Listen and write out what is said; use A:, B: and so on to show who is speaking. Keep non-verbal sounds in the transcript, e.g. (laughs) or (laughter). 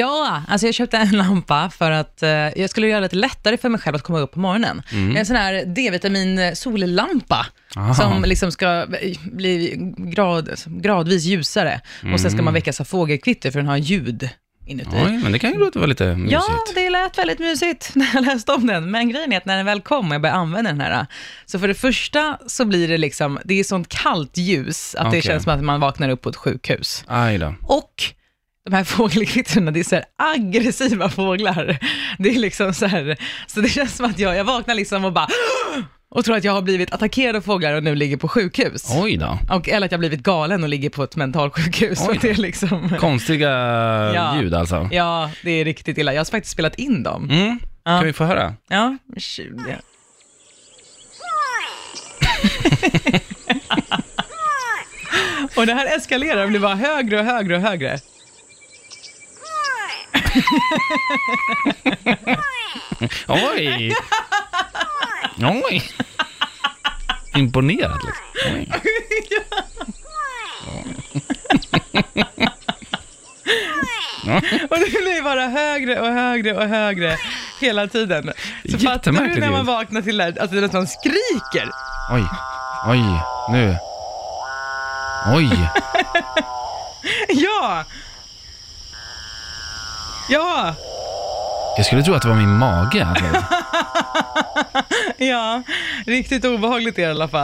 A: Ja, alltså jag köpte en (laughs) lampa för att eh, jag skulle göra det lite lättare för mig själv att komma upp på morgonen.
B: Mm.
A: En sån här D-vitamin eh, sollampa
B: Aha.
A: som liksom ska bli grad, gradvis ljusare och sen ska
B: Mm.
A: man väckas av fågelkvitter för den har ljud inuti.
B: Oj, men det kan ju låta vara lite mysigt.
A: Ja, det lät väldigt mysigt (laughs) när jag läste om den. Men grejen är att när den väl kom och jag började använda den här, eh, så för det första så blir det liksom, det är sånt kallt ljus att
B: Okej.
A: det känns som att man vaknar upp på ett sjukhus.
B: Aj då.
A: Och de här (laughs) fågelkvittrorna, det är så här aggressiva fåglar. Det är liksom så här, så det känns som att jag, jag vaknar liksom och bara (gasps) och tror att jag har blivit attackerad av fåglar och nu ligger på sjukhus.
B: Oj då.
A: Och, eller att jag blivit galen och ligger på ett mentalsjukhus.
B: Oj.
A: Och (laughs) det är liksom,
B: Konstiga
A: Ja.
B: ljud alltså.
A: ja, det är riktigt illa. Jag har faktiskt spelat in dem.
B: Mm.
A: Ja.
B: Kan vi få höra?
A: Ja, 20. (laughs) och det här eskalerar och blir bara högre och högre och högre.
B: Oj! Oj! Imponerad liksom. Oj.
A: (laughs) Och det blir bara högre och högre och högre hela tiden. Så fattar du
B: Jättemärkligt
A: när man
B: ljud.
A: vaknar till det här, alltså det är nästan skriker.
B: Oj, oj, nu. Oj,
A: Ja! Ja!
B: jag skulle tro att det var min mage. Alltså.
A: Ja, riktigt obehagligt är det i alla fall.